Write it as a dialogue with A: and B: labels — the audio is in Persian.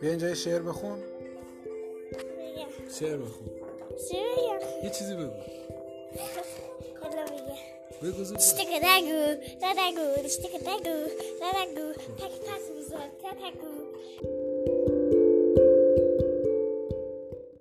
A: بیا اینجا یه شعر بخون
B: بگه
A: شعر بخون
B: چی بگم
A: یه چیزی بگو
B: حالا بگه
A: بگو زود
B: تک دگو دگو تک دگو دگو تک پس میزد تک